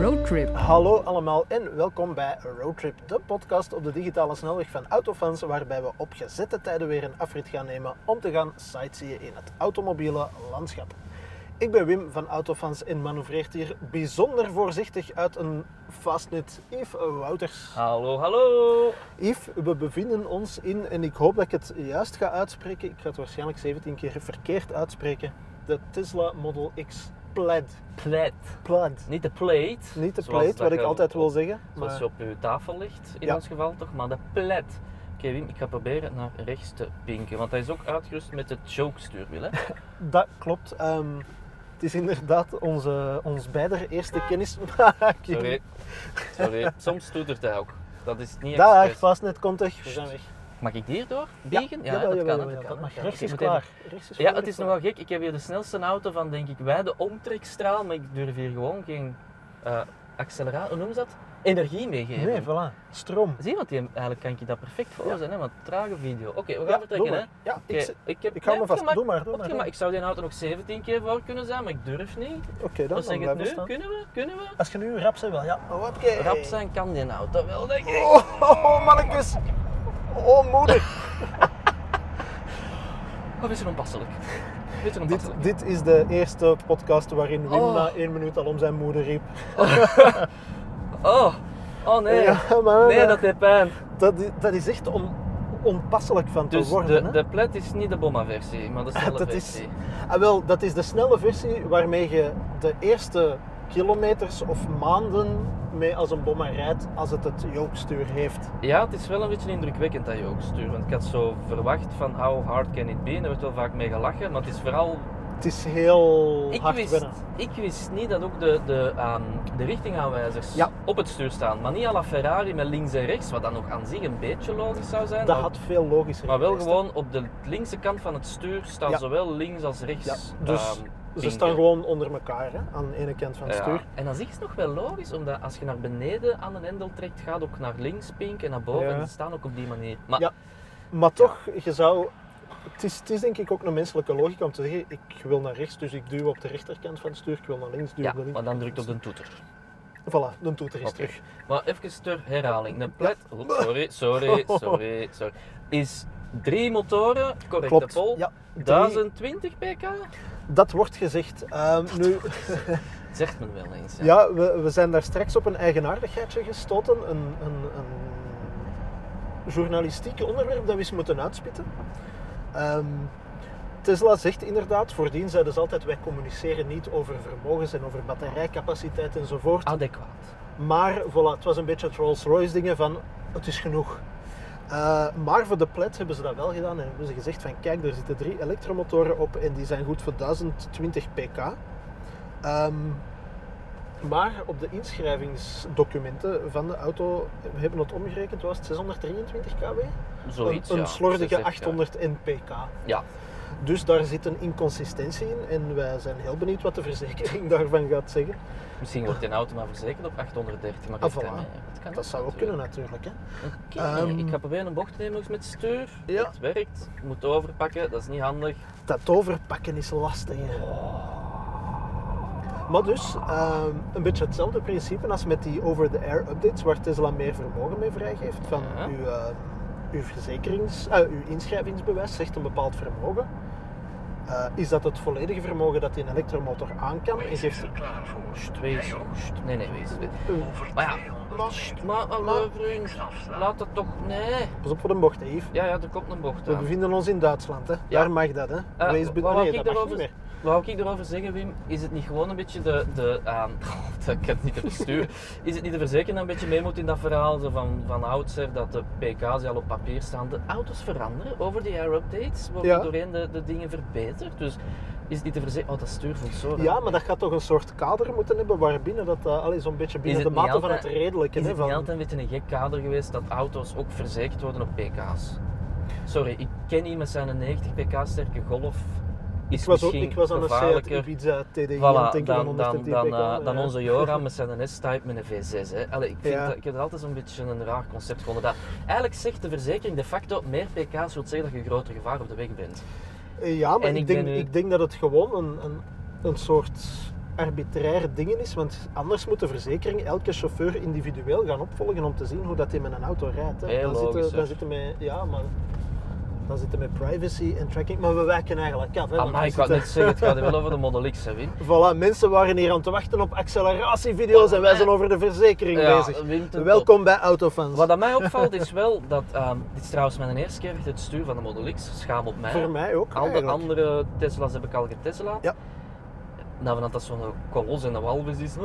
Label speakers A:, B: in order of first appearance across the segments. A: Roadtrip.
B: Hallo allemaal en welkom bij Roadtrip, de podcast op de digitale snelweg van Autofans, waarbij we op gezette tijden weer een afrit gaan nemen om te gaan sightseeën in het automobiele landschap. Ik ben Wim van Autofans en manoeuvreert hier bijzonder voorzichtig uit een Fastnet Yves Wouters.
C: Hallo, hallo.
B: Yves, we bevinden ons in, en ik hoop dat ik het juist ga uitspreken, ik ga het waarschijnlijk 17 keer verkeerd uitspreken, de Tesla Model X Plaid.
C: Pleit.
B: Plaid.
C: Niet de plate.
B: Niet de
C: zoals
B: Plaid,
C: dat
B: wat ik
C: je-
B: altijd wil zeggen.
C: Zoals
B: maar-
C: je op je tafel ligt, in
B: Ja.
C: ons geval toch, maar de pleit. Oké Wim, ik ga proberen naar rechts te pinken, want hij is ook uitgerust met het joke-stuurwiel. hè.
B: Dat klopt. ehm, het is inderdaad onze, ons beider eerste kennismaking.
C: Ah. Sorry. Sorry. Soms toetert hij ook. Dat is niet
B: Dag,
C: expres.
B: vastnet, komt echt. We zijn weg.
C: Mag ik hierdoor? Biegen?
B: jawel,
C: dat
B: jawel,
C: kan. hè,
B: jawel,
C: dat kan, hè.
B: mag.
C: Ja,
B: Rechts
C: oké,
B: is
C: moet even-
B: klaar. Rechts is
C: Ja,
B: voor,
C: het is
B: rechts
C: nogal gek. Ik heb hier de snelste auto van, denk ik, wij de omtrekstraal, maar ik durf hier gewoon geen eh, accelerator, hoe noemen ze dat? Energie meegeven.
B: Nee, voilà. Stroom.
C: Zie, want die, eigenlijk kan ik je dat perfect voor
B: Ja.
C: zijn, hè? want trage video. Oké, we gaan
B: Ja,
C: vertrekken.
B: doe
C: Hè?
B: maar. Ja, ik,
C: Oké,
B: zit-
C: ik, heb
B: ik hou me
C: net
B: vast.
C: gemaakt-
B: Doe maar, doe maar.
C: opgemaakt.
B: doe maar.
C: Ik zou die auto nog 17 keer voor kunnen zijn, maar ik durf niet.
B: Oké, dan, dan
C: Wat zeg het
B: blijven we
C: nu?
B: staan.
C: Kunnen we? Kunnen we?
B: Als je nu rap zijn wel, ja. Oh, Oké.
C: Rap zijn kan die auto wel, denk ik.
B: Oh, oh, oh, mannetjes. Oh, moeder.
C: Of is het onpasselijk? Is het onpasselijk?
B: dit, dit is de eerste podcast waarin Wim
C: Oh.
B: na één minuut al om zijn moeder riep.
C: Oh, oh nee.
B: Ja, maar-
C: nee, dat deed pijn.
B: Dat, i- dat is echt on, onpasselijk van
C: Dus
B: te worden.
C: de,
B: hè?
C: de plet is niet de bomma-versie, maar de snelle
B: Dat is,
C: versie.
B: ah, wel, dat is de snelle versie waarmee je de eerste kilometers of maanden mee als een bomma rijdt als het het jookstuur heeft.
C: Ja, het is wel een beetje indrukwekkend dat je ook stuurt. Want ik had zo verwacht van how hard can it be? En er werd wel vaak mee gelachen, maar het is vooral
B: Het is heel
C: Ik
B: hard
C: wist,
B: wennen.
C: ik wist niet dat ook de, de, ehm, de richtingaanwijzers
B: Ja.
C: op het stuur staan. Maar niet à la Ferrari met links en rechts, wat dan nog aan zich een beetje logisch zou zijn.
B: Dat
C: maar,
B: had veel logischer
C: maar wel
B: geweest, hè.
C: gewoon op de linkse kant van het stuur staan
B: Ja.
C: zowel links als rechts.
B: Ja, dus
C: ehm,
B: Ze
C: pinken.
B: staan gewoon onder elkaar hè, aan de ene kant van het
C: Ja.
B: stuur.
C: En aan zich is het nog wel logisch, omdat als je naar beneden aan een hendel trekt, gaat ook naar links pink en naar boven.
B: Ja.
C: En ze staan ook op die manier. Maar
B: Ja. Maar toch, je zou... Het is, het is denk ik ook een menselijke logica om te zeggen, ik wil naar rechts, dus ik duw op de rechterkant van het stuur, ik wil naar links, duw
C: ja,
B: op de linker-
C: maar dan drukt op de toeter.
B: Voilà, de toeter is
C: Oké.
B: terug.
C: Maar even ter herhaling. Een plet, oeps, sorry, sorry, sorry, sorry. Is drie motoren, correct
B: Klopt.
C: Paul?
B: Ja, drie-
C: 1020 pk?
B: Dat wordt gezegd. Ehm, nu,
C: Zegt men wel eens. hè.
B: ja, we, we zijn daar straks op een eigenaardigheidje gestoten. Een, een, een journalistiek onderwerp dat we eens moeten uitspitten. Ehm, Tesla zegt inderdaad, voordien zeiden ze altijd, wij communiceren niet over vermogens en over batterijcapaciteit enzovoort.
C: Adequaat.
B: Maar voilà, het was een beetje het Rolls-Royce dingen van het is genoeg. Eh, maar voor de plet hebben ze dat wel gedaan en hebben ze gezegd van kijk, er zitten drie elektromotoren op en die zijn goed voor 1020 pk. Ehm, maar op de inschrijvingsdocumenten van de auto we hebben het omgerekend, was het 623 kW?
C: Zoiets,
B: een een
C: ja.
B: slordige
C: 60,
B: 800 pk.
C: Ja.
B: Dus daar zit een inconsistentie in en wij zijn heel benieuwd wat de verzekering daarvan gaat zeggen.
C: ja. Misschien wordt die auto maar verzekerd op 830, maar dat
B: Ah,
C: kan,
B: voilà.
C: hè. dat kan
B: Dat zou ook kunnen
C: natuurlijk.
B: natuurlijk. Hè?
C: Oké,
B: Ehm.
C: ik ga proberen een bocht te nemen ook met stuur.
B: Ja.
C: Het werkt. Ik moet overpakken, dat is niet handig.
B: Dat overpakken is lastig. hè. Maar dus, ehm, een beetje hetzelfde principe als met die over-the-air updates, waar Tesla meer vermogen mee vrijgeeft. Van
C: Ja.
B: uw, eh, uw, verzekerings, eh, uw inschrijvingsbewijs zegt een bepaald vermogen. Eh, is dat het volledige vermogen dat die een elektromotor aan kan? En geeft...
C: Sst, wees. sst. Nee, nee, wees. wees.
B: Oeh,
C: Maar ja, sst, maar hallo vriend, laat dat toch... Nee.
B: Pas op voor de bocht, hè, Yves.
C: Ja, ja, er komt een bocht
B: We
C: aan.
B: bevinden ons in Duitsland, hè. Daar mag dat, hè.
C: Eh,
B: Wees be-
C: wat wou
B: nee,
C: ik
B: dat mag
C: daarover-
B: niet meer.
C: Wat wou ik erover zeggen, Wim? Is het niet gewoon een beetje de. de ehm, ik heb het niet te versturen. Is het niet de verzekering dat een beetje mee moet in dat verhaal zo van, van oudsher dat de PK's die al op papier staan? De auto's veranderen over die air updates, worden
B: Ja.
C: doorheen de, de dingen verbeterd. Dus is het niet de verzekering. Oh, dat stuur voelt zo. raar.
B: Ja, maar dat gaat toch een soort kader moeten hebben waarbinnen dat eh, al is zo'n beetje binnen
C: Is
B: de
C: het
B: mate
C: niet
B: van het
C: altijd-
B: redelijke.
C: Is
B: hè,
C: het
B: van...
C: niet altijd een beetje een gek kader geweest dat auto's ook verzekerd worden op PK's? Sorry, ik ken iemand met zijn 90 pk sterke golf. Is
B: Ik was, ook,
C: misschien
B: ik was aan een Seat
C: gevaarlijker.
B: Ibiza TDI aan
C: Voilà,
B: het
C: dan,
B: denken
C: dan,
B: van
C: dan,
B: 110 pk.
C: eh, dan
B: ja.
C: onze Joram met zijn S-Type met een V6. Hè. Allee, ik, vind
B: Ja.
C: dat, ik heb dat altijd zo'n beetje een raar concept gevonden. Dat, eigenlijk zegt de verzekering de facto meer pk's wil zeggen dat je groter gevaar op de weg bent.
B: Eh, Ja, maar
C: En
B: ik
C: ik
B: denk,
C: ben nu-
B: ik denk dat het gewoon een, een, een soort arbitrair dingen is, want anders moet de verzekering elke chauffeur individueel gaan opvolgen om te zien hoe dat hij met een auto rijdt. hè.
C: Heel
B: dan,
C: logisch,
B: zitten,
C: hè.
B: dan zitten met, ja, maar dan zitten met privacy en tracking, maar we wijken eigenlijk af. Hè, want
C: Amai,
B: we
C: ik wou
B: zitten-
C: net zeggen, het gaat hier wel over de Model X, hè, Wim?
B: Voilà, mensen waren hier aan te wachten op acceleratievideo's en wij zijn over de verzekering
C: Ja,
B: bezig.
C: Wim ten
B: Welkom bij Autofans.
C: Wat aan mij opvalt is wel dat, ehm, dit is trouwens mijn eerste keer achter het stuur van de Model X, schaam op mij.
B: Voor mij ook.
C: Al de
B: eigenlijk.
C: andere Tesla's heb ik al getesla.
B: Ja.
C: Nou, van dat zo'n kolos en een walvis is,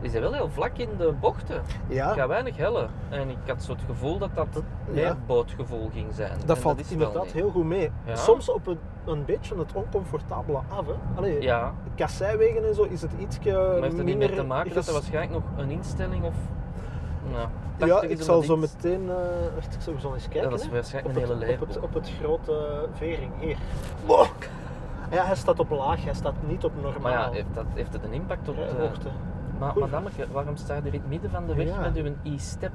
C: is hij wel heel vlak in de bochten.
B: Ja,
C: Ik ga weinig hellen. En ik had zo het gevoel dat dat het
B: Ah. Ja.
C: airbootgevoel ging zijn. En
B: dat valt
C: is wel
B: inderdaad
C: niet.
B: heel goed mee.
C: Ja.
B: Soms op een, een beetje het oncomfortabele af. Hè. Allee,
C: Ja,
B: kasseiwegen en zo is het iets eh,
C: maar
B: minder...
C: heeft er niet mee te maken dat
B: ges-
C: er waarschijnlijk nog een instelling of... Nou,
B: Ja,
C: 80 is
B: ik
C: er
B: zal
C: nog
B: zo
C: iets.
B: meteen... eh, wacht, ik zal zo eens
C: Ja,
B: kijken.
C: dat is
B: hè.
C: waarschijnlijk
B: op,
C: een hele
B: het, op,
C: leerboek.
B: het, op het grote eh, vering hier. Ja, hij staat op laag, hij staat niet op normaal. eh,
C: Maar ja, heeft, eh, dat, heeft het een impact op de...
B: Rijhoogte.
C: Maar
B: Goed.
C: madameke, waarom sta je er in het midden van de weg
B: Ja.
C: met uw e-step?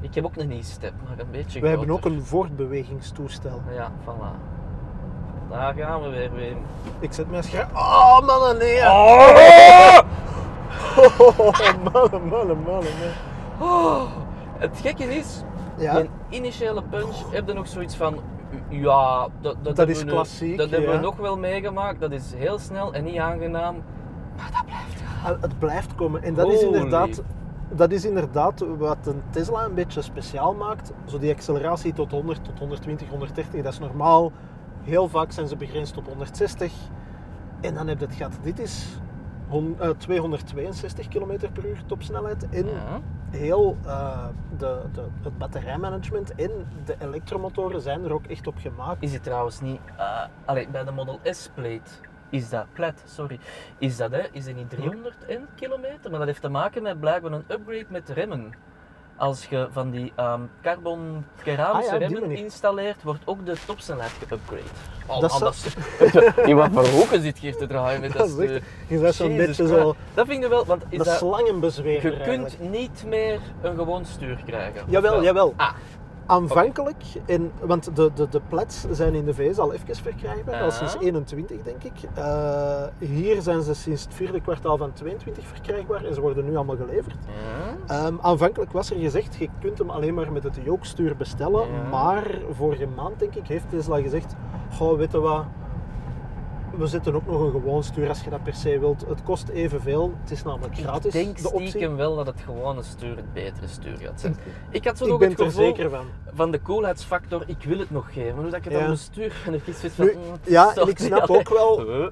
C: Ik heb ook een e-step, maar een beetje
B: We hebben ook
C: groter.
B: een voortbewegingstoestel.
C: Ja, voilà. Daar gaan we weer, Wim.
B: Ik zet mijn scherm. Oh, mannen, nee! Oh, mannen, mannen, mannen. nee.
C: Oh, het gekke is,
B: Ja,
C: een initiële punch heb je nog zoiets van... Ja, dat, dat, hebben
B: is
C: we nu-
B: klassiek,
C: Dat hebben
B: ja.
C: we nog wel meegemaakt. Dat is heel snel en niet aangenaam.
B: het blijft komen. En dat is
C: Holy.
B: inderdaad. Dat is inderdaad wat een Tesla een beetje speciaal maakt. Zo die acceleratie tot 100, tot 120, 130, dat is normaal. Heel vaak zijn ze begrensd op 160. En dan heb je het gehad. Dit is hon- eh, 262 km per uur topsnelheid. En
C: Ja.
B: heel eh, de, de, het batterijmanagement en de elektromotoren zijn er ook echt op gemaakt.
C: Is het trouwens niet... eh allee, bij de Model S-plate is dat... Plat, sorry. Is dat, hè? Is dat niet 300 en kilometer? Maar dat heeft te maken met blijkbaar een upgrade met remmen. Als je van die ehm carbon keramische
B: Ah ja, op die
C: remmen
B: manier.
C: installeert, wordt ook de topsnelheid geupgrade. Oh,
B: Dat
C: man,
B: zou-
C: is... In wat voor hoeken zit je hier te draaien met
B: Dat is echt-
C: stuur?
B: Je bent zo'n
C: Jezus
B: beetje
C: Christus.
B: zo
C: Dat vind ik wel, want is
B: de
C: dat,
B: slangenbezweer.
C: je kunt niet meer een gewoon stuur krijgen. of
B: Jawel,
C: wel?
B: jawel.
C: Ah,
B: Aanvankelijk, in, want de, de, de plats zijn in de VS al even verkrijgbaar, al sinds
C: Ja.
B: 21 denk ik. Eh, hier zijn ze sinds het vierde kwartaal van 22 verkrijgbaar en ze worden nu allemaal geleverd.
C: ja.
B: Ehm, aanvankelijk was er gezegd, je kunt hem alleen maar met het jookstuur bestellen.
C: Ja.
B: Maar vorige maand, denk ik, heeft Tesla gezegd, goh, weet je wat, we zetten ook nog een gewoon stuur als je dat per se wilt. Het kost evenveel, het is namelijk gratis,
C: Ik denk
B: de optie.
C: stiekem wel dat het gewone stuur het betere stuur gaat zijn. Ik had zo
B: ik
C: nog
B: ben
C: het
B: er
C: gevoel
B: zeker van.
C: van de coolheidsfactor, ik wil het nog geven. Maar hoe dat ik het
B: Ja.
C: aan mijn stuur en ik iets zoiets
B: Nu,
C: van... mm,
B: ja, en
C: sorry,
B: ik snap
C: allee.
B: ook wel,
C: Huh?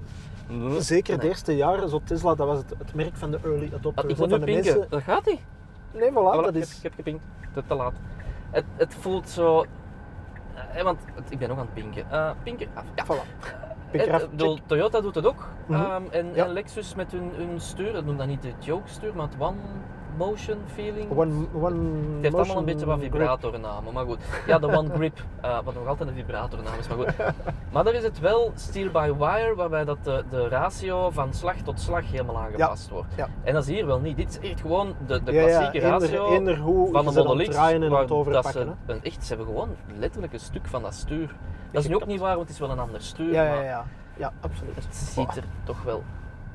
C: Huh?
B: zeker de
C: Nee.
B: eerste jaren, zo Tesla, dat was het, het merk van de early adopters.
C: Ah, Ik
B: hè,
C: moet nu
B: van de
C: pinken.
B: mensen-
C: Dat gaat niet.
B: Nee, voilà,
C: Voilà,
B: dat
C: ik
B: is...
C: heb- Ik heb gepinkt. Te, te laat. Het, het voelt zo... eh, want het- ik ben ook aan het pinken. Eh, pinken af. Ja.
B: Voilà.
C: Eh,
B: Pik eraf,
C: ik bedoel, Toyota doet het ook.
B: Mhm.
C: Ehm, en,
B: Ja.
C: en Lexus met hun, hun stuur, dat noemt dat niet het joke stuur, maar het one motion feeling.
B: check. One, one
C: Het heeft allemaal een beetje wat vibratornamen, maar goed. Ja, de One Grip, eh, wat nog altijd een vibratornaam is, maar goed. Maar daar is het wel steel-by-wire, waarbij dat de, de ratio van slag tot slag helemaal aangepast wordt.
B: ja.
C: En dat is hier wel niet. Dit is echt gewoon de, de klassieke ratio
B: Eender hoe
C: van de
B: ze dan
C: Model X.
B: draaien en
C: waar
B: het
C: dat ze,
B: overpakken.
C: een, echt, ze hebben gewoon letterlijk een stuk van dat stuur. Dat is nu ook
B: Gekapt.
C: niet waar, want het is wel een ander stuur.
B: hè. Ja, ja,
C: maar-
B: ja. Ja, absoluut.
C: het ziet er toch wel.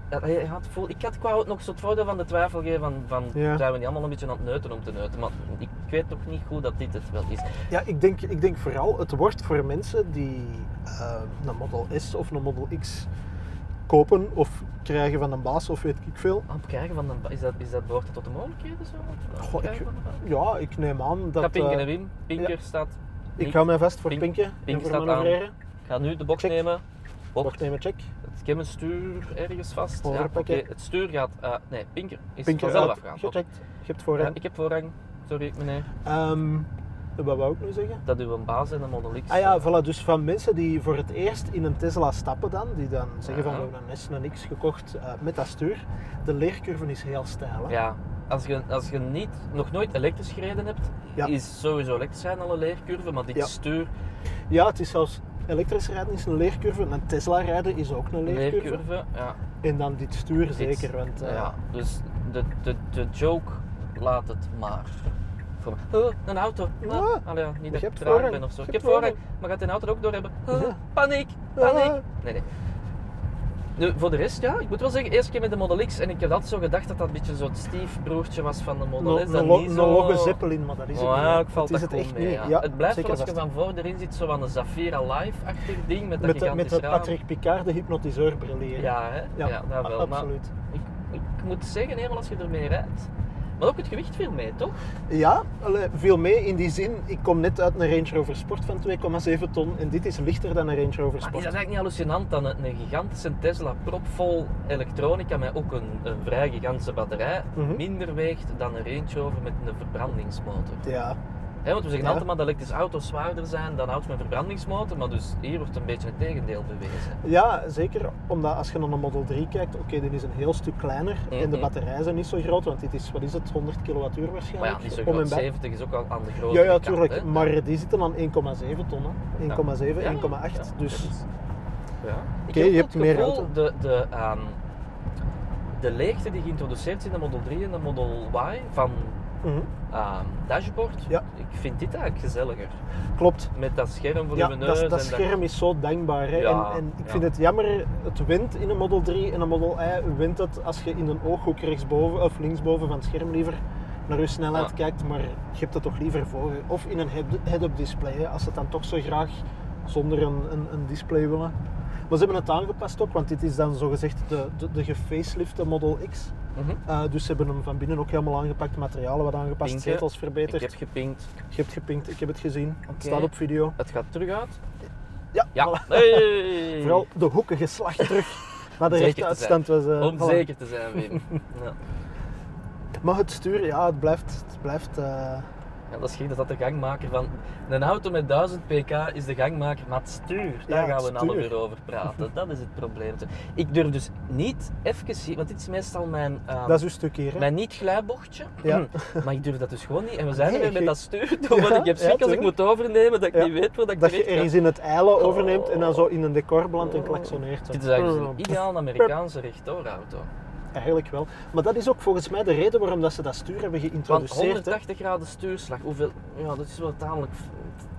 C: Ja, hij had voel, ik had qua ook nog zo het voordeel van de twijfel geven van, van
B: Ja.
C: zijn we niet allemaal een beetje aan het neuten om te neuten, maar ik weet toch niet goed dat dit het wel is.
B: Ja, ik denk, ik denk vooral, het wordt voor mensen die eh, een Model S of een Model X kopen of krijgen van een baas of weet ik veel.
C: Aan het Ah, krijgen van een ba- is dat, is dat behoort dat tot de mogelijkheden zo? Aan het
B: Goh,
C: krijgen
B: ik-
C: van een ba-
B: Ja, ik neem aan
C: Ik ga
B: dat...
C: pinken
B: eh,
C: en Wim. Pinker staat.
B: ik
C: niet.
B: hou mij vast voor
C: Pink-
B: pinken en
C: Pink
B: voor
C: staat aan.
B: manoeuvreren.
C: Ik ga nu de bocht
B: Check.
C: nemen. Bocht.
B: Bocht nemen, check.
C: Het- Ik heb een stuur ergens vast. Ja,
B: Overpakken.
C: oké, Het stuur gaat. eh, nee, Pinker is
B: Pinken
C: vanzelf
B: uit,
C: afgaan. Oké.
B: eh, gecheckt. Je hebt voorrang.
C: Ja, ik heb voorrang. Sorry meneer.
B: Ehm, wat wou ik nu zeggen?
C: Dat uw baas en een Model X.
B: Ah ja,
C: eh,
B: voilà, dus van mensen die voor het eerst in een Tesla stappen dan, die dan zeggen van
C: Ja.
B: we hebben een S en een X gekocht eh, met dat stuur, de leercurve is heel steil. Hè?
C: Ja, als je, als je niet, nog nooit elektrisch gereden hebt,
B: Ja.
C: is sowieso elektrisch zijn al een leercurve, maar dit
B: Ja.
C: stuur,
B: Ja, het is zelfs elektrisch rijden is een leercurve, en een Tesla rijden is ook een leercurve.
C: leercurve, ja,
B: En dan dit stuur zeker, want
C: ja.
B: eh,
C: Dus de, de, de joke laat het maar. Voor oh, een auto. Ah,
B: Ja.
C: allee, ja, niet
B: Je
C: dat ik
B: hebt
C: traag
B: voorrang.
C: ben of zo.
B: Je
C: Ik heb
B: hebt
C: voorrang, maar gaat een auto het ook door hebben?
B: Ja.
C: Paniek,
B: Ja.
C: paniek. Nee, nee. Nu, voor de rest, ja, ik moet wel zeggen, eerst keer met de Model X en ik heb altijd zo gedacht dat dat een beetje zo'n Steve-broertje was van de Model S. dat
B: Een lo-
C: niet
B: een
C: zo-
B: logge Zeppelin, maar dat is het
C: Oh,
B: niet.
C: ja, ik val
B: dat is
C: dat
B: het
C: gewoon
B: echt
C: mee,
B: niet.
C: ja.
B: Ja,
C: het blijft
B: zeker
C: wel als je
B: vast.
C: van voor erin zit, zo van een Zafira Live-achtig ding
B: Met,
C: met dat
B: de, met
C: gigantisch
B: de
C: raam.
B: Patrick Picard, de hypnotiseur brilleren.
C: Ja, hè? Ja, dat wel. Maar
B: absoluut.
C: ik, ik moet zeggen, helemaal als je ermee rijdt. Maar ook het gewicht viel mee, toch?
B: Ja, allee, veel mee in die zin. Ik kom net uit een Range Rover Sport van 2,7 ton en dit is lichter dan een Range Rover
C: Maar is dat
B: Sport.
C: eigenlijk niet hallucinant dan een, een gigantische Tesla propvol elektronica met ook een, een vrij gigantische batterij
B: Mhm.
C: minder weegt dan een Range Rover met een verbrandingsmotor?
B: Ja,
C: Hè, want we zeggen
B: Ja.
C: altijd maar dat elektrische auto's zwaarder zijn dan auto's met verbrandingsmotor, maar dus hier wordt een beetje het tegendeel bewezen.
B: Ja, zeker. Omdat als je naar een Model 3 kijkt, oké, dit is een heel stuk kleiner en de
C: Mhm.
B: batterijen zijn niet zo groot, want dit is, wat is het, 100 kilowattuur
C: Maar
B: waarschijnlijk?
C: ja, niet zo
B: Om en
C: groot.
B: bij.
C: 70 is ook al aan de grote
B: Ja, ja,
C: kant,
B: tuurlijk. Mm.
C: hè.
B: Maar die zitten aan 1,7 ton, hè. 1,7,
C: Ja,
B: 1,8.
C: ja,
B: dus
C: dat is- Ja. Ik
B: Oké, je
C: heb ook
B: hebt
C: het
B: meer
C: gevoel
B: auto.
C: De, de, ehm, de leegte die geïntroduceerd is in de Model 3 en de Model Y van
B: mhm,
C: ehm, dashboard,
B: Ja.
C: ik vind dit eigenlijk gezelliger.
B: klopt.
C: Met dat scherm voor
B: Ja,
C: uw
B: dat,
C: neus.
B: dat
C: en
B: scherm is zo dankbaar. Hè.
C: Ja,
B: en, en ik
C: ja.
B: vind het jammer, het wint in een Model 3 en een Model Y wint het als je in een ooghoek rechtsboven of linksboven van het scherm liever naar je snelheid
C: Ja.
B: kijkt, maar je hebt het toch liever voor. je. Of in een head- head-up display, hè, als ze het dan toch zo graag zonder een, een, een display willen. Maar ze hebben het aangepast ook, want dit is dan zogezegd de, de, de gefacelifte Model X.
C: Mhm.
B: Eh, dus ze hebben hem van binnen ook helemaal aangepakt, materialen wat aangepast,
C: Pinken.
B: zetels verbeterd.
C: Ik heb gepinkt.
B: Je hebt gepinkt, ik heb het gezien.
C: Oké.
B: Het staat op video.
C: Het gaat terug uit.
B: Ja,
C: Ja.
B: voilà.
C: Hey.
B: Vooral de hoekige slag terug naar de
C: Hmm. Om zeker
B: rechte
C: te
B: uitstand was. eh,
C: Om
B: voilà.
C: zeker te zijn, Wim. Ja.
B: Maar het stuur, ja, het blijft. Het blijft eh,
C: Ja, dat is gek dat dat de gangmaker van... Een auto met 1000 pk is de gangmaker, maar het stuur, daar
B: Ja,
C: gaan
B: het
C: we een half
B: stuur.
C: uur over praten. Dat is het probleem. Ik durf dus niet even zien, want dit is meestal mijn, ehm,
B: dat is uw stuk hier. Hè?
C: mijn niet-glijbochtje.
B: Ja.
C: Maar ik durf dat dus gewoon niet. En we zijn
B: Nee,
C: er weer met
B: je-
C: dat stuur toe,
B: Ja,
C: want ik heb
B: ja,
C: schrik als ik
B: tuurlijk.
C: moet overnemen dat ik
B: Ja.
C: niet weet waar dat ik
B: Dat je
C: terecht ga.
B: ergens in het eilen overneemt en dan zo in een decor belandt en
C: Oh.
B: klaksoneert. zo.
C: Dit is eigenlijk dus
B: Mm.
C: een ideaal Amerikaanse rechtdoorauto.
B: Eigenlijk wel. Maar dat is ook volgens mij de reden waarom dat ze dat stuur hebben
C: Want
B: geïntroduceerd. hè.
C: 180 graden stuurslag, hoeveel... Ja, dat is wel tamelijk...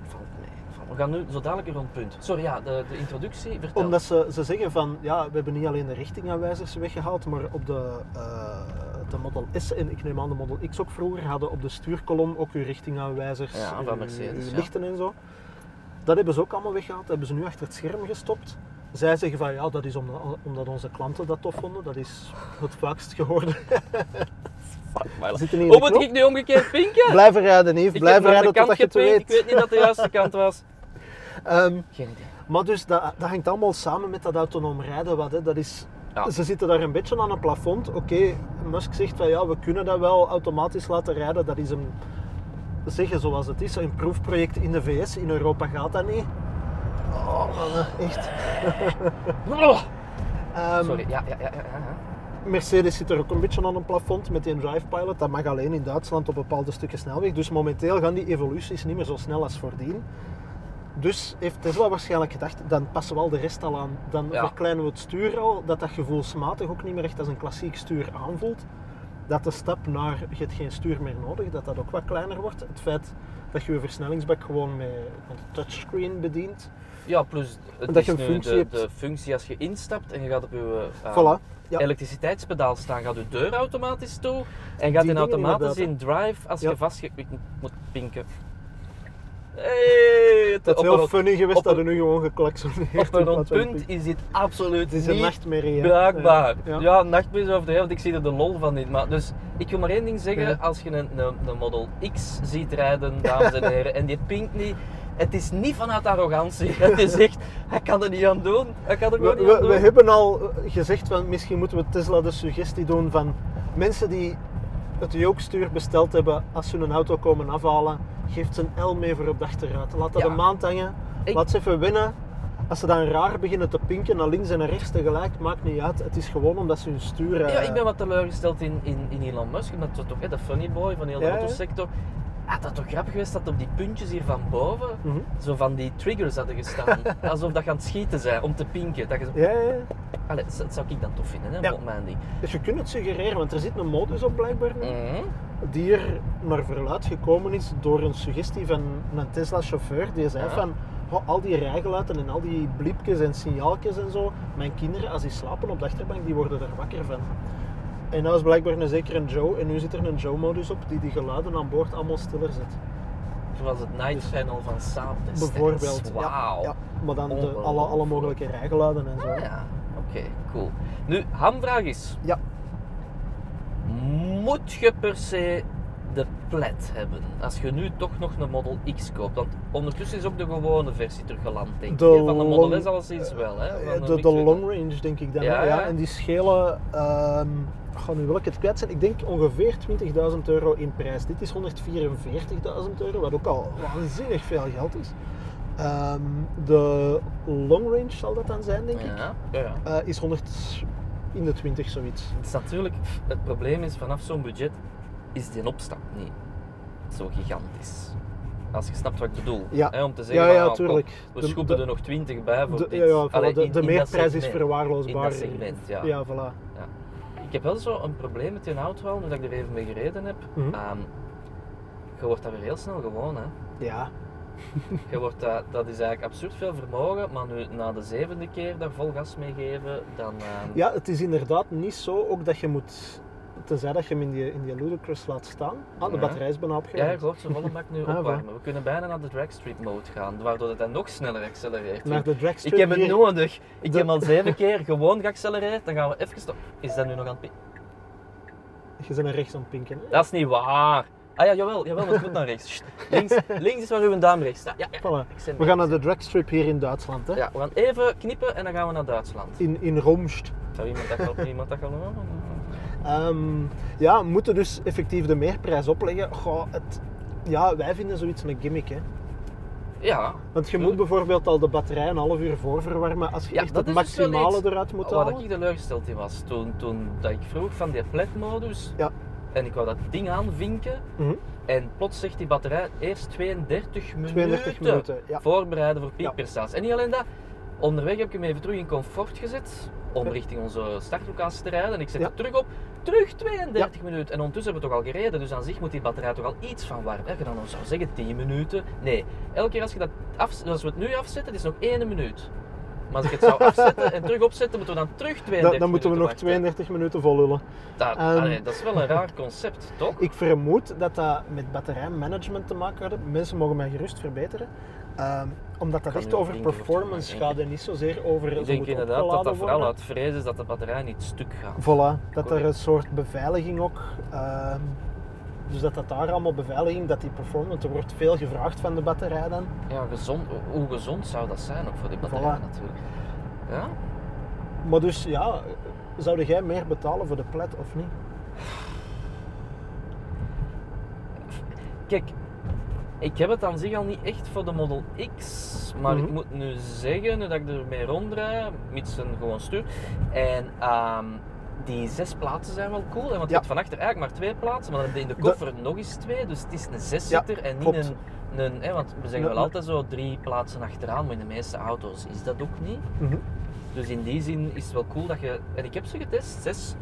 C: Valt mee. Valt- We gaan nu zo dadelijk een rond punt. Sorry, ja, de, de introductie, vertel.
B: Omdat ze, ze zeggen van ja, we hebben niet alleen de richtingaanwijzers weggehaald, maar op de, eh, de Model S en ik neem aan de Model X ook vroeger hadden op de stuurkolom ook uw richtingaanwijzers,
C: Ja, van
B: uw-
C: Mercedes,
B: uw
C: ja.
B: lichten en zo. Dat hebben ze ook allemaal weggehaald, hebben ze nu achter het scherm gestopt. Zij zeggen van ja, dat is omdat, omdat onze klanten dat tof vonden. Dat is het vaakst gehoorde.
C: Fuck, maar-
B: Zitten hier in de
C: Hoe moet
B: knop?
C: ik nu omgekeerd pinken?
B: Blijven rijden, Yves.
C: Ik
B: Blijven
C: heb naar de
B: rijden
C: kant
B: totdat je het
C: gepinkt,
B: weet.
C: Ik weet niet dat de juiste kant was.
B: Ehm,
C: Geen idee.
B: Maar dus dat, dat hangt allemaal samen met dat autonoom rijden. Wat, hè. Dat is,
C: Ja.
B: Ze zitten daar een beetje aan een plafond. Oké, Musk zegt van ja, we kunnen dat wel automatisch laten rijden. Dat is een, zeggen zoals het is, een proefproject in de VS. In Europa gaat dat niet. Oh, mannen, echt.
C: Oh,
B: Ehm,
C: Sorry, ja, ja, ja. ja, ja.
B: Mercedes zit er ook een beetje aan een plafond met die Drive Pilot. Dat mag alleen in Duitsland op bepaalde stukken snelweg. Dus momenteel gaan die evoluties niet meer zo snel als voordien. Dus heeft Tesla waarschijnlijk gedacht, dan passen we al de rest al aan. Dan
C: Ja.
B: verkleinen we het stuur al, dat dat gevoelsmatig ook niet meer echt als een klassiek stuur aanvoelt. Dat de stap naar, je hebt geen stuur meer nodig, dat dat ook wat kleiner wordt. Het feit dat je je versnellingsbak gewoon met een touchscreen bedient.
C: Ja, plus het
B: Dat
C: is
B: je een
C: nu
B: functie
C: de,
B: hebt.
C: de functie als je instapt en je gaat op je eh,
B: Voilà. Ja.
C: elektriciteitspedaal staan, gaat je deur automatisch toe en
B: dingen
C: gaat in automatisch
B: inderdaad, hè.
C: in drive als
B: Ja.
C: je vastge... Ik moet pinken. Hey, het-
B: Dat is
C: op,
B: heel
C: een,
B: funny geweest
C: op
B: dat
C: een-
B: er nu gewoon geklaksoneerd
C: op een
B: in
C: rond
B: plaats van een
C: punt is dit absoluut
B: Het is een
C: niet
B: nachtmerrie. hè.
C: Bruikbaar.
B: Ja.
C: Ja, nachtmerries over de hele, want ik zie er de lol van niet. Maar dus, ik wil maar één ding zeggen,
B: Ja.
C: als je een, een, een Model X ziet rijden, dames en heren, en die pinkt niet, het is niet vanuit arrogantie. Het is echt, hij kan er niet aan doen. Hij kan er
B: We,
C: gewoon niet aan
B: we,
C: doen.
B: we hebben al eh, gezegd, van, misschien moeten we Tesla de suggestie doen van mensen die het jookstuur besteld hebben, als ze hun auto komen afhalen, geeft ze een L mee voor op de achterruit. Laat dat
C: Ja.
B: een maand hangen,
C: Ik-
B: laat ze even winnen. Als ze dan raar beginnen te pinken, naar links en naar rechts tegelijk, maakt niet uit. Het is gewoon omdat ze hun stuur... eh,
C: Ja, ik ben wat teleurgesteld in, in, in Elon Musk, omdat dat toch, hè, de funny boy van heel de
B: Ja, ja.
C: autosector, had dat toch grappig geweest dat op die puntjes hier van boven
B: Mhm.
C: zo van die triggers hadden gestaan. Alsof dat gaan schieten zijn om te pinken. Dat, je zo-
B: Ja, ja, ja.
C: Allee, dat zou ik dan tof vinden, hè,
B: Ja.
C: volgens mij.
B: Dus je kunt het suggereren, want er zit een modus op blijkbaar nu.
C: Mhm.
B: die er naar verluid gekomen is door een suggestie van een Tesla-chauffeur. Die zei
C: Ja.
B: van, ho, al die rijgeluiden en al die bliepjes en signaaltjes en zo. Mijn kinderen, als die slapen op de achterbank, die worden daar wakker van. En dat is blijkbaar een zeker een Joe. En nu zit er een Joe-modus op die die geluiden aan boord allemaal stiller zet.
C: Zoals het night panel van Saab destijds.
B: Dus Bijvoorbeeld. ja,
C: Wauw.
B: Ja, maar dan de, alle, alle
C: Ongelooflijk.
B: mogelijke rijgeluiden en zo.
C: Ah ja, oké, cool. Nu, hamvraag is,
B: Ja.
C: moet je per se de plat hebben? Als je nu toch nog een Model X koopt. Want ondertussen is ook de gewone versie teruggeland, denk ik.
B: De
C: hè? Van de Model
B: long-
C: S alleszins wel, hè? Van
B: Eh, De, de
C: Mix-
B: long range denk ik dan.
C: Ja,
B: Ja,
C: ja.
B: En die schelen, ehm goh, nu wil ik het kwijt zijn, ik denk ongeveer 20.000 euro in prijs. Dit is 144.000 euro, wat ook al waanzinnig veel geld is. Ehm, de long range zal dat dan zijn, denk ik,
C: Ja, ja.
B: eh, is 100 in de 20 zoiets.
C: Het is natuurlijk, het probleem is, vanaf zo'n budget is die opstap niet zo gigantisch. Als je snapt wat ik bedoel.
B: Ja.
C: hè, om te zeggen,
B: Ja, ja,
C: van, ah, kom,
B: tuurlijk.
C: we
B: De-
C: schoepen
B: de-
C: er nog 20 bij voor
B: De,
C: dit.
B: ja, ja, voilà,
C: Allee,
B: de,
C: in-
B: de
C: in dat
B: meerprijs is
C: segment.
B: verwaarloosbaar.
C: In dat segment, ja.
B: Ja, voilà.
C: Ik heb wel zo een probleem met die auto al, nu dat ik er even mee gereden heb.
B: Mhm.
C: Ehm, je wordt daar weer heel snel gewoon, hè.
B: Ja,
C: Je wordt dat, dat is eigenlijk absurd veel vermogen, maar nu na de zevende keer daar vol gas mee geven, dan... ehm,
B: Ja, het is inderdaad niet zo ook dat je moet, tenzij dat je hem in die, in die ludicrous laat staan. Ah, de
C: Ja.
B: batterij is bijna
C: Ja, je
B: opgeruimd.
C: hoort ze volle bak nu
B: Ah, voilà.
C: opwarmen. We kunnen bijna naar de drag street mode gaan, waardoor het dan nog sneller accelereert.
B: Naar de dragstrip
C: Ik heb het
B: hier-
C: nodig. Ik
B: De-
C: heb al zeven keer gewoon geaccelereerd, dan gaan we even stop. Is dat nu nog aan het pi-
B: Je bent naar rechts aan het pinken. hè?
C: Dat is niet waar. Ah ja, jawel, jawel, want het moet naar rechts. Sst, Links, links is waar uw duim rechts staat. Ja, ja.
B: Voilà.
C: Ik zit
B: We gaan naar de dragstrip hier in Duitsland. Hè?
C: Ja, we gaan even knippen en dan gaan we naar Duitsland.
B: In, in Romst.
C: Zou iemand dat al, iemand dat al horen?
B: Ehm, ja, we moeten dus effectief de meerprijs opleggen. Goh, het, ja, wij vinden zoiets een gimmick. Hè?
C: Ja,
B: Want je moet bijvoorbeeld al de batterij een half uur voorverwarmen als je
C: Hm? Ja,
B: echt
C: dat
B: het
C: is dus wel
B: maximale
C: iets
B: eruit moet
C: wat
B: halen.
C: ik teleurgesteld in was toen, toen dat ik vroeg van die pletmodus.
B: Ja.
C: En ik wou dat ding aanvinken.
B: Mhm.
C: En plots zegt die batterij eerst 32 minuten,
B: 32 minuten. Ja.
C: voorbereiden voor piekprestaties. En niet alleen dat, onderweg heb ik hem even terug in comfort gezet om
B: Ja.
C: richting onze startlocatie te rijden. En ik zet
B: Ja.
C: het terug op, terug 32 minuten. En ondertussen hebben we toch al gereden, dus aan zich moet die batterij toch al iets van warm. Als je dan nog zou zeggen 10 minuten. Nee, elke keer als, je dat af, als we het nu afzetten, is het nog 1 minuut. Maar als ik het zou afzetten en terug opzetten, moeten we dan terug 32
B: Dan, dan moeten we
C: minuten
B: nog
C: wachten.
B: 32 minuten volhullen.
C: Dat,
B: Ehm.
C: allee, dat is wel een raar concept, toch?
B: Ik vermoed dat dat met batterijmanagement te maken had. Mensen mogen mij gerust verbeteren. Ehm, omdat dat
C: Kan
B: echt
C: nu
B: over
C: ding wordt
B: performance
C: gemaakt,
B: gaat en niet zozeer over
C: Ik
B: ze
C: denk
B: moeten
C: inderdaad dat dat
B: opgeladen
C: vooral
B: worden.
C: uit vrees is dat de batterij niet stuk gaat.
B: Voilà, dat er
C: Correct.
B: een soort beveiliging ook. ehm, dus dat dat daar allemaal beveiliging, dat die performance, er wordt veel gevraagd van de batterij dan.
C: Ja, gezond, hoe gezond zou dat zijn ook voor die batterij
B: Voilà.
C: natuurlijk. Ja?
B: Maar dus ja, zou jij meer betalen voor de plat of niet?
C: Kijk, ik heb het aan zich al niet echt voor de Model X, maar ik
B: Mhm.
C: moet nu zeggen, nu dat ik ermee rondrij, mits een gewoon stuur, en ehm, die zes plaatsen zijn wel cool, hè, want je
B: Ja.
C: hebt van achter eigenlijk maar twee plaatsen, maar dan heb je in de
B: Dat-
C: koffer nog eens twee, dus het is een zeszitter en niet
B: klopt.
C: een... een hè, want we zeggen
B: Ja.
C: wel altijd zo drie plaatsen achteraan, maar in de meeste auto's is dat ook niet. Dus in die zin is het wel cool dat je. En ik heb ze getest, zes.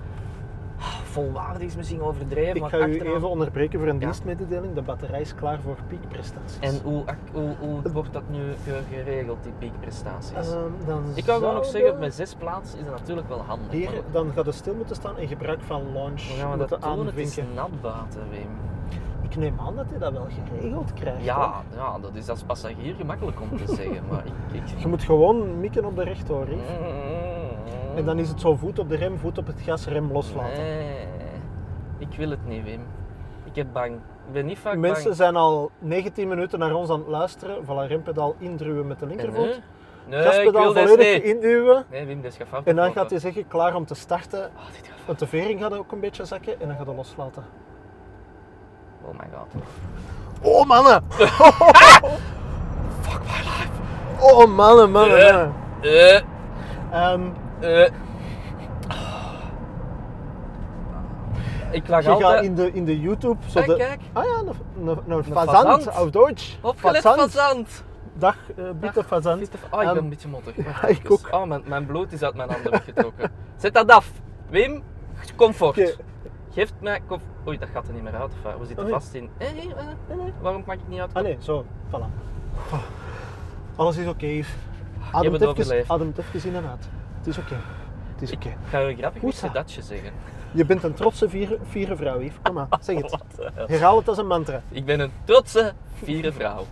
C: Ah, Volwaardig is misschien overdreven,
B: Ik
C: maar
B: ga u
C: achteraan-
B: even onderbreken voor een
C: Ja.
B: dienstmededeling. De batterij is klaar voor piekprestaties.
C: En hoe, ac- hoe, hoe wordt dat nu ge- geregeld, die piekprestaties?
B: Ehm, dan
C: ik kan gewoon nog zeggen, op
B: zouden-
C: mijn zes plaats is dat natuurlijk wel handig. maar
B: Hier, dan gaat het stil moeten staan en gebruik van launch
C: hoe gaan we
B: moeten
C: dat doen? Het is
B: aanvinken.
C: nat buiten, Wim.
B: Ik neem aan dat je dat wel geregeld krijgt.
C: Ja,
B: hoor.
C: ja, dat is als passagier gemakkelijk om te zeggen, maar ik... ik...
B: Je moet gewoon mikken op de rechtdoor. hè. En dan is het zo voet op de rem, voet op het gas, rem loslaten.
C: Nee, ik wil het niet, Wim. Ik heb bang. Ik ben niet vaak
B: Mensen
C: bang.
B: zijn al 19 minuten naar ons aan het luisteren. Voilà, rempedaal induwen met de
C: En
B: linkervoet.
C: nu? Nee, ik
B: Gaspedaal
C: wil dit
B: volledig
C: niet.
B: induwen.
C: Nee, Wim, dit gaat fout.
B: En dan gaat
C: lopen.
B: hij zeggen, klaar om te starten.
C: Oh, dit gaat
B: Want de vering gaat ook een beetje zakken en dan gaat hij loslaten.
C: fout. Oh my god.
B: Oh mannen!
C: Fuck my life.
B: Oh mannen, mannen,
C: Eh.
B: mannen.
C: Eh,
B: Ehm,
C: eh. Ik lag
B: je gaat
C: altijd...
B: in de, in de YouTube... Zo
C: Kijk,
B: de,
C: kijk.
B: ah ja, een- een- een
C: fazant.
B: fazant, of Deutsch.
C: Opgelet van zand.
B: Dag, eh bitte fazant.
C: Oh, ik ben
B: Ehm,
C: een beetje mottig. Wacht
B: ik
C: even.
B: ook.
C: Oh, mijn, mijn bloed is uit mijn handen weggetrokken. Zet dat af. Wim, comfort.
B: Oké.
C: Geef mij comfort. Oei, dat gaat er niet meer uit. of wat? We zitten
B: Oei.
C: vast in... Eh, eh, eh.
B: Ah, Nee, nee.
C: Waarom maak ik niet uit?
B: Ah nee, zo, voilà. Alles is oké. Yves.
C: hebt
B: Adem
C: het
B: het
C: overleefd.
B: even- adem het even in en uit. Het is oké. Het is oké.
C: Ik ga je grappig
B: Hoe
C: iets
B: dat?
C: datje zeggen.
B: Je bent een trotse vier, vieren vrouw, Yves. Kom maar, zeg het.
C: Wat de hel?
B: Herhaal het als een mantra.
C: Ik ben een trotse, vieren vrouw.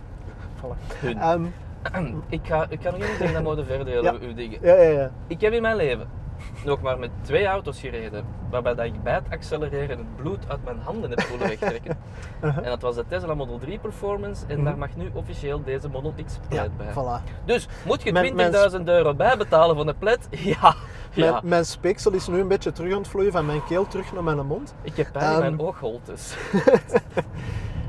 B: Voilà.
C: Hun.
B: Ehm,
C: Hmm, ik, ga, ik ga nog even zeggen, dan moeten we verder
B: Ja.
C: uw dingen.
B: ja, ja, ja.
C: Ik heb in mijn leven nog maar met twee auto's gereden, waarbij dat ik bij het accelereren het bloed uit mijn handen heb voelen wegtrekken.
B: Uh-huh. Mhm.
C: En dat was de Tesla Model 3 Performance en daar mag nu officieel deze Model X Plaid
B: Ja,
C: bij.
B: voilà.
C: Dus moet je
B: Mijn-
C: 20.000
B: mijn-
C: euro bijbetalen van de plet? Ja, ja.
B: Mijn, mijn speeksel is nu een beetje terug aan het vloeien van mijn keel terug naar mijn mond.
C: ik heb pijn in mijn
B: Ehm.
C: oogholtes.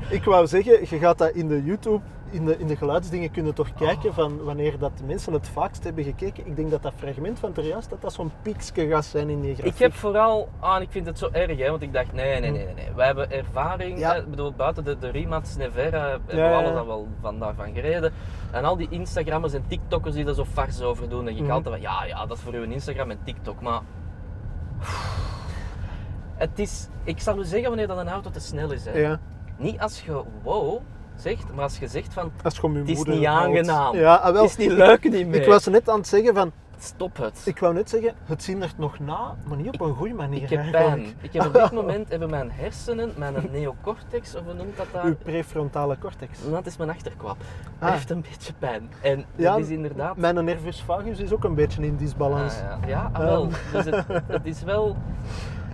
B: Ik wou zeggen, je gaat dat in de YouTube, in de, in de geluidsdingen kunnen toch kijken van wanneer dat de mensen het vaakst hebben gekeken. Ik denk dat dat fragment van terjuist, dat dat zo'n piekske gaat zijn in die grafiek.
C: Ik heb vooral, ah, ik vind het zo erg, hè, want ik dacht, nee, nee, nee, nee, nee. wij hebben ervaring,
B: Mm. Ja.
C: hè, ik bedoel, buiten de, de Rimac Nevera hebben
B: Ja,
C: we
B: ja,
C: alles
B: ja.
C: al wel van daarvan gereden. En al die Instagrammers en TikTokkers die daar zo farce over doen, denk ik
B: Mhm.
C: altijd van, ja, ja, dat is voor uw Instagram en TikTok, maar... Het is, ik zal u zeggen wanneer dat een auto te snel is, hè.
B: Ja,
C: Niet als je wow zegt, maar als je zegt van,
B: dat is gewoon mijn
C: het is
B: moeder
C: niet
B: houdt.
C: aangenaam,
B: Ja, ah, wel,
C: het is niet leuk niet meer,
B: Ik was net aan het zeggen van,
C: stop het.
B: ik wou net zeggen, het zindert nog na, maar niet op een goede manier.
C: Ik heb
B: eigenlijk.
C: pijn. Ik heb op dit moment hebben mijn hersenen, mijn neocortex, of hoe noemt dat daar?
B: Uw prefrontale cortex.
C: Dat Nou, is mijn achterkwap.
B: Ah.
C: Heeft een beetje pijn. En
B: Ja,
C: dat is inderdaad...
B: Mijn nervus vagus is ook een beetje in disbalans.
C: Ah, ja, ja ah, wel.
B: Ehm.
C: Dus het, het is wel...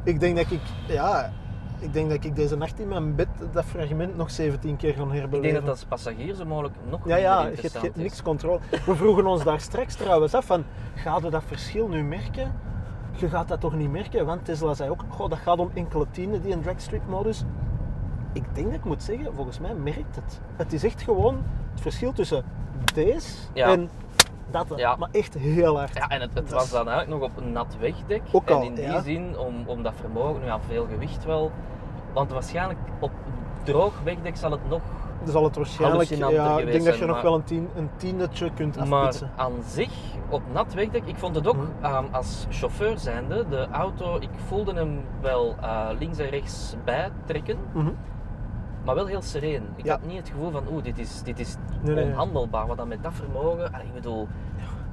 B: Ik denk dat ik, ja, ik denk dat ik deze nacht in mijn bed dat fragment nog 17 keer gaan herbeleven.
C: Ik denk dat dat als passagier zo mogelijk nog
B: ja,
C: minder
B: ja, je hebt
C: interessant
B: geen-
C: is.
B: niks controle. We vroegen ons daar straks trouwens af van, gaan we dat verschil nu merken? Je gaat dat toch niet merken, want Tesla zei ook, goh, dat gaat om enkele tienden, die in dragstrip modus. Ik denk dat ik moet zeggen, volgens mij merkt het. Het is echt gewoon het verschil tussen deze
C: Ja.
B: en dat.
C: Ja.
B: Maar echt heel hard.
C: Ja, en het, het
B: Dat
C: was
B: is-
C: dan eigenlijk nog op een nat wegdek.
B: Ook al,
C: en in die
B: ja.
C: zin, om, om dat vermogen, nu ja, veel gewicht wel. Want waarschijnlijk op een droog wegdek zal het nog...
B: Dan Dus zal het waarschijnlijk,
C: Hallucinanter
B: ja, ik
C: geweest
B: denk dat je
C: zijn,
B: nog
C: maar-
B: wel een, tien, een tiendetje kunt
C: Maar
B: afpitsen.
C: aan zich, op nat wegdek, ik vond het ook
B: Mhm.
C: ehm, als chauffeur zijnde, de auto, ik voelde hem wel eh, links en rechts bijtrekken,
B: Mhm.
C: maar wel heel sereen. Ik
B: Ja.
C: had niet het gevoel van, oeh, dit is, dit is
B: Nee, nee, nee.
C: onhandelbaar, wat dan met dat vermogen. Allee, ik bedoel,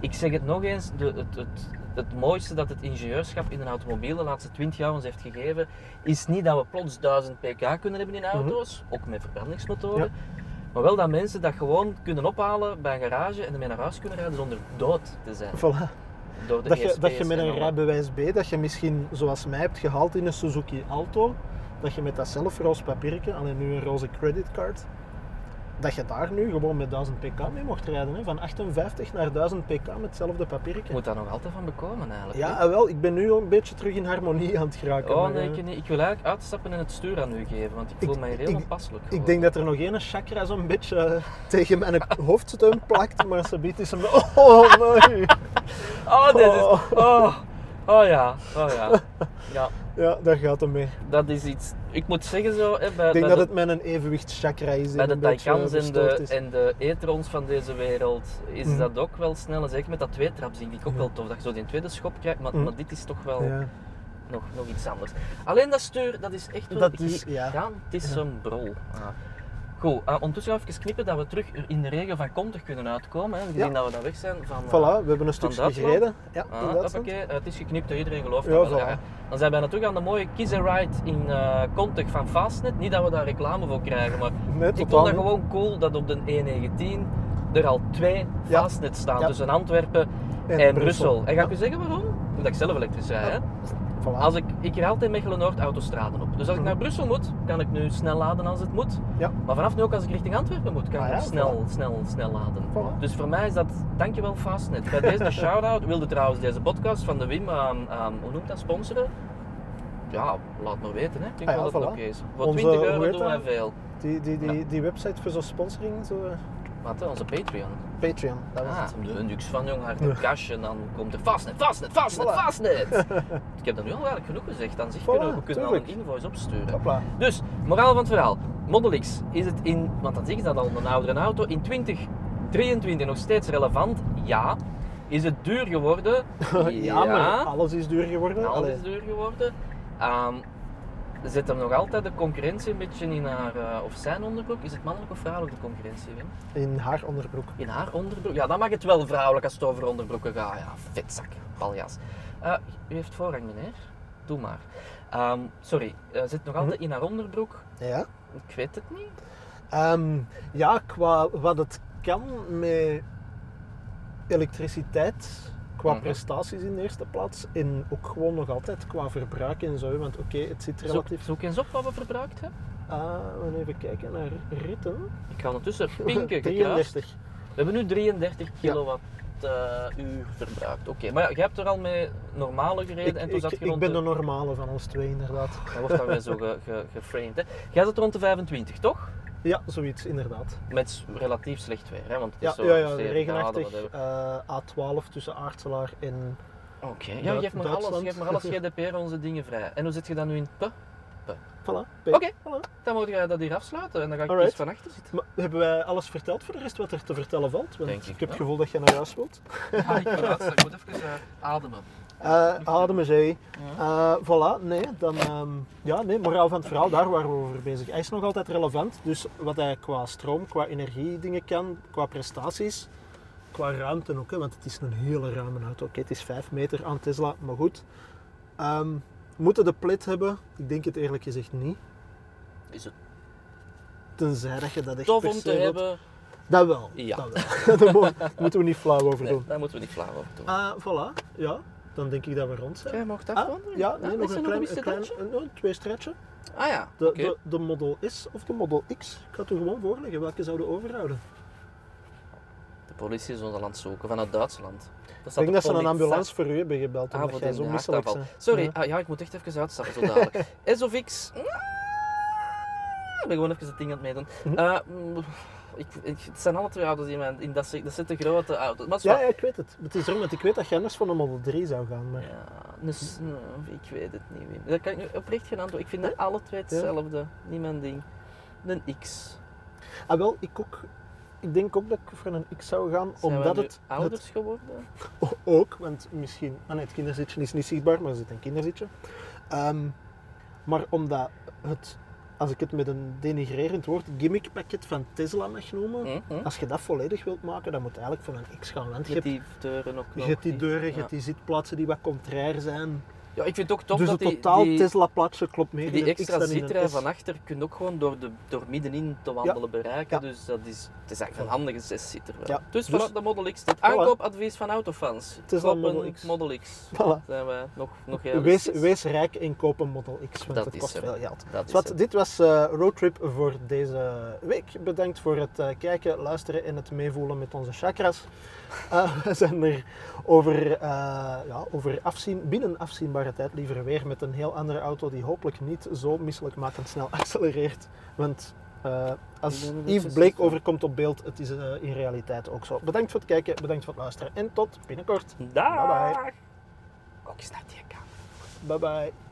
C: ik zeg het nog eens, de, het, het, het mooiste dat het ingenieurschap in een automobiel de laatste 20 jaar ons heeft gegeven, is niet dat we plots 1000 pk kunnen hebben
B: Mhm.
C: in auto's, ook met verbrandingsmotoren. Maar wel dat mensen dat gewoon kunnen ophalen bij een garage en ermee naar huis kunnen rijden zonder dood te zijn.
B: Voilà.
C: Door de E
B: dat, je, dat je
C: ESP's
B: met
C: en
B: een
C: alle-
B: rijbewijs B, dat je misschien zoals mij hebt gehaald in een Suzuki Alto, dat je met datzelfde roze papiertje, alleen nu een roze creditcard, dat je daar nu gewoon met 1000 pk mee mocht rijden. Hè? Van 58 naar 1000 pk met hetzelfde papiertje.
C: moet daar nog altijd van bekomen eigenlijk.
B: Ja,
C: hè?
B: ah, wel, ik ben nu al een beetje terug in harmonie aan het geraken.
C: Oh
B: maar,
C: nee,
B: eh,
C: ik, niet. ik wil eigenlijk uitstappen en het stuur aan u geven, want ik voel
B: Ik-
C: mij heel
B: ik-
C: onpasselijk.
B: ik
C: gewoon.
B: denk dat er nog één chakra zo'n beetje eh, tegen mijn hoofdsteun plakt, maar ze biedt is hem... Oh, nee!
C: Oh, dit is...
B: Oh.
C: Oh, oh ja, oh ja. Ja,
B: Ja, daar gaat hem mee.
C: dat is iets... Ik moet zeggen zo, hè, bij,
B: Ik denk
C: bij
B: dat
C: de,
B: het mijn evenwichtschakra is die
C: bij de
B: een beetje eh,
C: Taycans en
B: verstoord
C: de,
B: is.
C: en de e-trons van deze wereld is
B: Mhm.
C: dat ook wel snel. En zeker met dat tweetrap zie ik ook
B: Ja.
C: wel tof, dat je zo die tweede schop krijgt. Maar,
B: Mhm.
C: maar dit is toch wel
B: Ja.
C: nog, nog iets anders. Alleen dat stuur, dat is echt wel
B: Dat is- ja.
C: gigantisch
B: Ja.
C: een brol. Ah. Goed, eh, ondertussen gaan we even knippen dat we terug in de regen van Komtig kunnen uitkomen. Hè, gezien
B: Ja.
C: dat we dan weg zijn van... eh,
B: Voilà, we hebben een stukje
C: Duitsland?
B: gereden. Ja,
C: ah,
B: in Duitsland.
C: hoppakee, eh, het is geknipt door iedereen gelooft
B: Ja,
C: dat wel,
B: voilà.
C: hè. Dan zijn we bijna terug aan de mooie Kiss and Ride in eh Komtig van Fastnet. Niet dat we daar reclame voor krijgen, maar
B: Nee,
C: ik
B: totaal
C: vond dat
B: niet.
C: gewoon cool dat op de E19 er al twee
B: Ja.
C: Fastnet staan
B: Ja.
C: tussen Antwerpen en,
B: En
C: Brussel.
B: Brussel.
C: En ga ik
B: Ja.
C: u zeggen waarom? Omdat ik zelf elektrisch rij. Hè?
B: Voilà.
C: Als ik, ik rij altijd Mechelen-Noord autostraden op. Dus als ik
B: Mhm.
C: naar Brussel moet, kan ik nu snel laden als het moet.
B: Ja.
C: Maar vanaf nu ook als ik richting Antwerpen moet, kan
B: Ah
C: ik
B: ja,
C: ook snel, snel, snel laden.
B: Voilà.
C: Dus voor mij is dat, dankjewel Fastnet. Bij deze een shout-out. Wilde trouwens deze podcast van de Wim, ehm, ehm, hoe noemt dat, sponsoren? Ja, laat maar weten. Hè. Ik denk
B: Ah ja,
C: wel dat het
B: voilà.
C: oké is. Voor
B: Onze-
C: 20
B: hoe
C: euro
B: heet
C: doen
B: dat?
C: wij veel.
B: Die, die, die, die website voor zo'n sponsoring, zo, eh,
C: Wat, hè, onze Patreon.
B: Patreon, dat was
C: Ah,
B: het.
C: de niks van jong hart een kastje en dan komt er Fastnet, Fastnet, Fastnet,
B: Voilà.
C: Fastnet. ik heb dat nu al eigenlijk genoeg gezegd. Dan zich
B: Voilà,
C: kunnen we, we kunnen al een
B: tuurlijk.
C: invoice opsturen.
B: Hopla.
C: Dus, moraal van het verhaal. Model X is het in, want dat is dat al een oudere auto, in 2023 nog steeds relevant? Ja. Is het duur geworden?
B: Ja, maar alles is duur geworden.
C: Alles
B: Allee.
C: is duur geworden. Ehm, zit hem nog altijd de concurrentie een beetje in haar, eh, of zijn onderbroek? Is het mannelijk of vrouwelijk de concurrentie, Wim?
B: in haar onderbroek.
C: In haar onderbroek? Ja, dan mag het wel vrouwelijk als het over onderbroeken gaat. Ja, vetzak, paljas. Eh, u heeft voorrang, meneer. Doe maar. Ehm, sorry, eh, zit nog altijd in haar onderbroek?
B: Ja.
C: Ik weet het niet.
B: Ehm, ja, qua wat het kan met elektriciteit, qua
C: Mhm.
B: prestaties in de eerste plaats, en ook gewoon nog altijd qua verbruik en zo. hè, Want oké, het zit
C: Zoek,
B: relatief...
C: zoek eens op wat we verbruikt hebben.
B: Ah, we gaan even kijken naar ritten.
C: Ik ga ondertussen pinken. gekruist.
B: 33.
C: We hebben nu 33 kilowattuur verbruikt. Oké, maar ja, je hebt er al mee normale gereden
B: Ik,
C: en toen
B: ik,
C: zat je
B: ik
C: rond
B: ben
C: de...
B: de normale van ons twee, inderdaad.
C: Dat wordt dan weer zo ge, ge- geframed. Hè. Jij zat rond de 25, toch?
B: Ja, zoiets, inderdaad.
C: Met s- relatief slecht weer, hè? want het is
B: Ja,
C: Dus zo
B: ja, ja,
C: 7
B: regenachtig.
C: graden, whatever.
B: eh, A12 tussen Aartselaar en...
C: Oké, ja, geef maar, alles,
B: Duitsland.
C: geef maar alles GDPR onze dingen vrij. En hoe zit je dan nu in het P?
B: Voilà. P.
C: Oké.
B: Voilà.
C: Dan moet jij dat hier afsluiten en dan ga ik
B: Alright.
C: eens van achter zitten.
B: Maar hebben wij alles verteld voor de rest wat er te vertellen valt? Want
C: Denk ik
B: ik heb het
C: wel.
B: gevoel dat je naar huis wilt.
C: Ah, ik, ben laatst, ik moet even eh, ademen.
B: Eh, ademen zij.
C: Ja.
B: Eh, voilà, nee, dan, ehm, ja, nee, moraal van het verhaal, daar waren we over bezig. Hij is nog altijd relevant, dus wat hij qua stroom, qua energie dingen kan, qua prestaties, qua ruimte ook, hè, want het is een hele ruime auto. Oké, het is 5 meter aan Tesla, maar goed. Ehm, moeten de plit hebben? Ik denk het eerlijk gezegd niet.
C: Is het
B: Tenzij dat je dat echt
C: tof
B: per
C: om
B: se
C: te
B: wilt.
C: hebben?
B: Dat wel.
C: Ja.
B: Dat wel. daar mo- daar moeten we niet flauw over
C: Nee,
B: doen.
C: daar moeten we niet flauw over doen.
B: Eh, voilà, ja. Dan denk ik dat we rond zijn.
C: Jij mag dat
B: Ah,
C: wandelen?
B: ja, nee, nog
C: is er
B: een klein,
C: wist
B: een
C: het
B: klein
C: randje?
B: een- een twee stretchen.
C: Ah ja,
B: De,
C: oké.
B: de, de Model S of de Model X? Ik ga het u gewoon voorleggen. Welke zouden we overhouden?
C: De politie is ons al aan het zoeken vanuit Duitsland. Dat
B: Ik denk dat ze een ambulance voor u hebben
C: Ah,
B: gebeld, omdat jij zo misselijk bent.
C: Sorry,
B: Ja.
C: ah, ja, ik moet echt even uitstappen zo dadelijk. S of X? Mm, Ik ben gewoon even het ding aan het meedoen.
B: Mhm.
C: Eh, mm, ik, ik- het zijn alle twee auto's in mijn... In dat, se- dat zitten grote auto's. Maar
B: Ja,
C: zwaar.
B: ja, ik weet het. Het is erom, want ik weet dat jij anders van een Model 3 zou gaan. Maar...
C: Ja, dus, mm, ik weet het niet. Wim. Daar kan ik nu oprecht geen antwoord. Ik vind dat alle twee hetzelfde. Niet mijn ding. Een X.
B: Ah, wel, ik ook. Ik denk ook dat ik voor een X zou gaan,
C: Zijn
B: omdat
C: we nu
B: het,
C: ouders geworden?
B: het ook, want misschien, ah nee, het kinderzitje is niet zichtbaar, maar er zit een kinderzitje. Ehm, maar omdat het, als ik het met een denigrerend woord, gimmickpakket van Tesla mag noemen,
C: Mhm.
B: als je dat volledig wilt maken, dan moet je eigenlijk voor een X gaan. Want je
C: Met
B: hebt
C: die deuren ook nog.
B: Je hebt die deuren, je
C: ja.
B: hebt die zitplaatsen die wat contrair zijn.
C: Ja, ik vind het ook tof
B: dus
C: dat
B: het
C: die,
B: totaal
C: die,
B: Tesla-plaatje klopt meer.
C: die
B: in een X
C: extra
B: dan in een
C: zitrij
B: S.
C: van achter kun je ook gewoon door, de, door middenin te wandelen bereiken.
B: Ja.
C: Dus dat is, het is eigenlijk
B: Voilà.
C: een handige zeszitter. wel.
B: Ja.
C: Dus
B: Dus-
C: vanuit de Model X, het aankoopadvies van autofans.
B: is
C: Koop
B: een Model
C: een
B: X.
C: Model X.
B: Voilà.
C: Zijn we nog, nog
B: Wees,
C: realistisch?
B: wees rijk en koop een Model X, want
C: Dat
B: dat,
C: is
B: kost
C: zo.
B: veel geld.
C: Dat is
B: Zwat,
C: het.
B: dit was eh, Roadtrip voor deze week. Bedankt voor het eh, kijken, luisteren en het meevoelen met onze chakras. Eh, we zijn er over, eh, ja, over afzien, binnen afzienbare tijd liever weer met een heel andere auto die hopelijk niet zo misselijkmakend snel accelereert. Want eh,
C: Ik
B: als
C: denk dat het
B: Yves
C: is
B: Blake
C: zo.
B: overkomt op beeld, het is eh, in realiteit ook zo. Bedankt voor het kijken, bedankt voor het luisteren en tot binnenkort.
C: Daag!
B: Bye
C: Ook eens naar die kant.
B: Bye bye.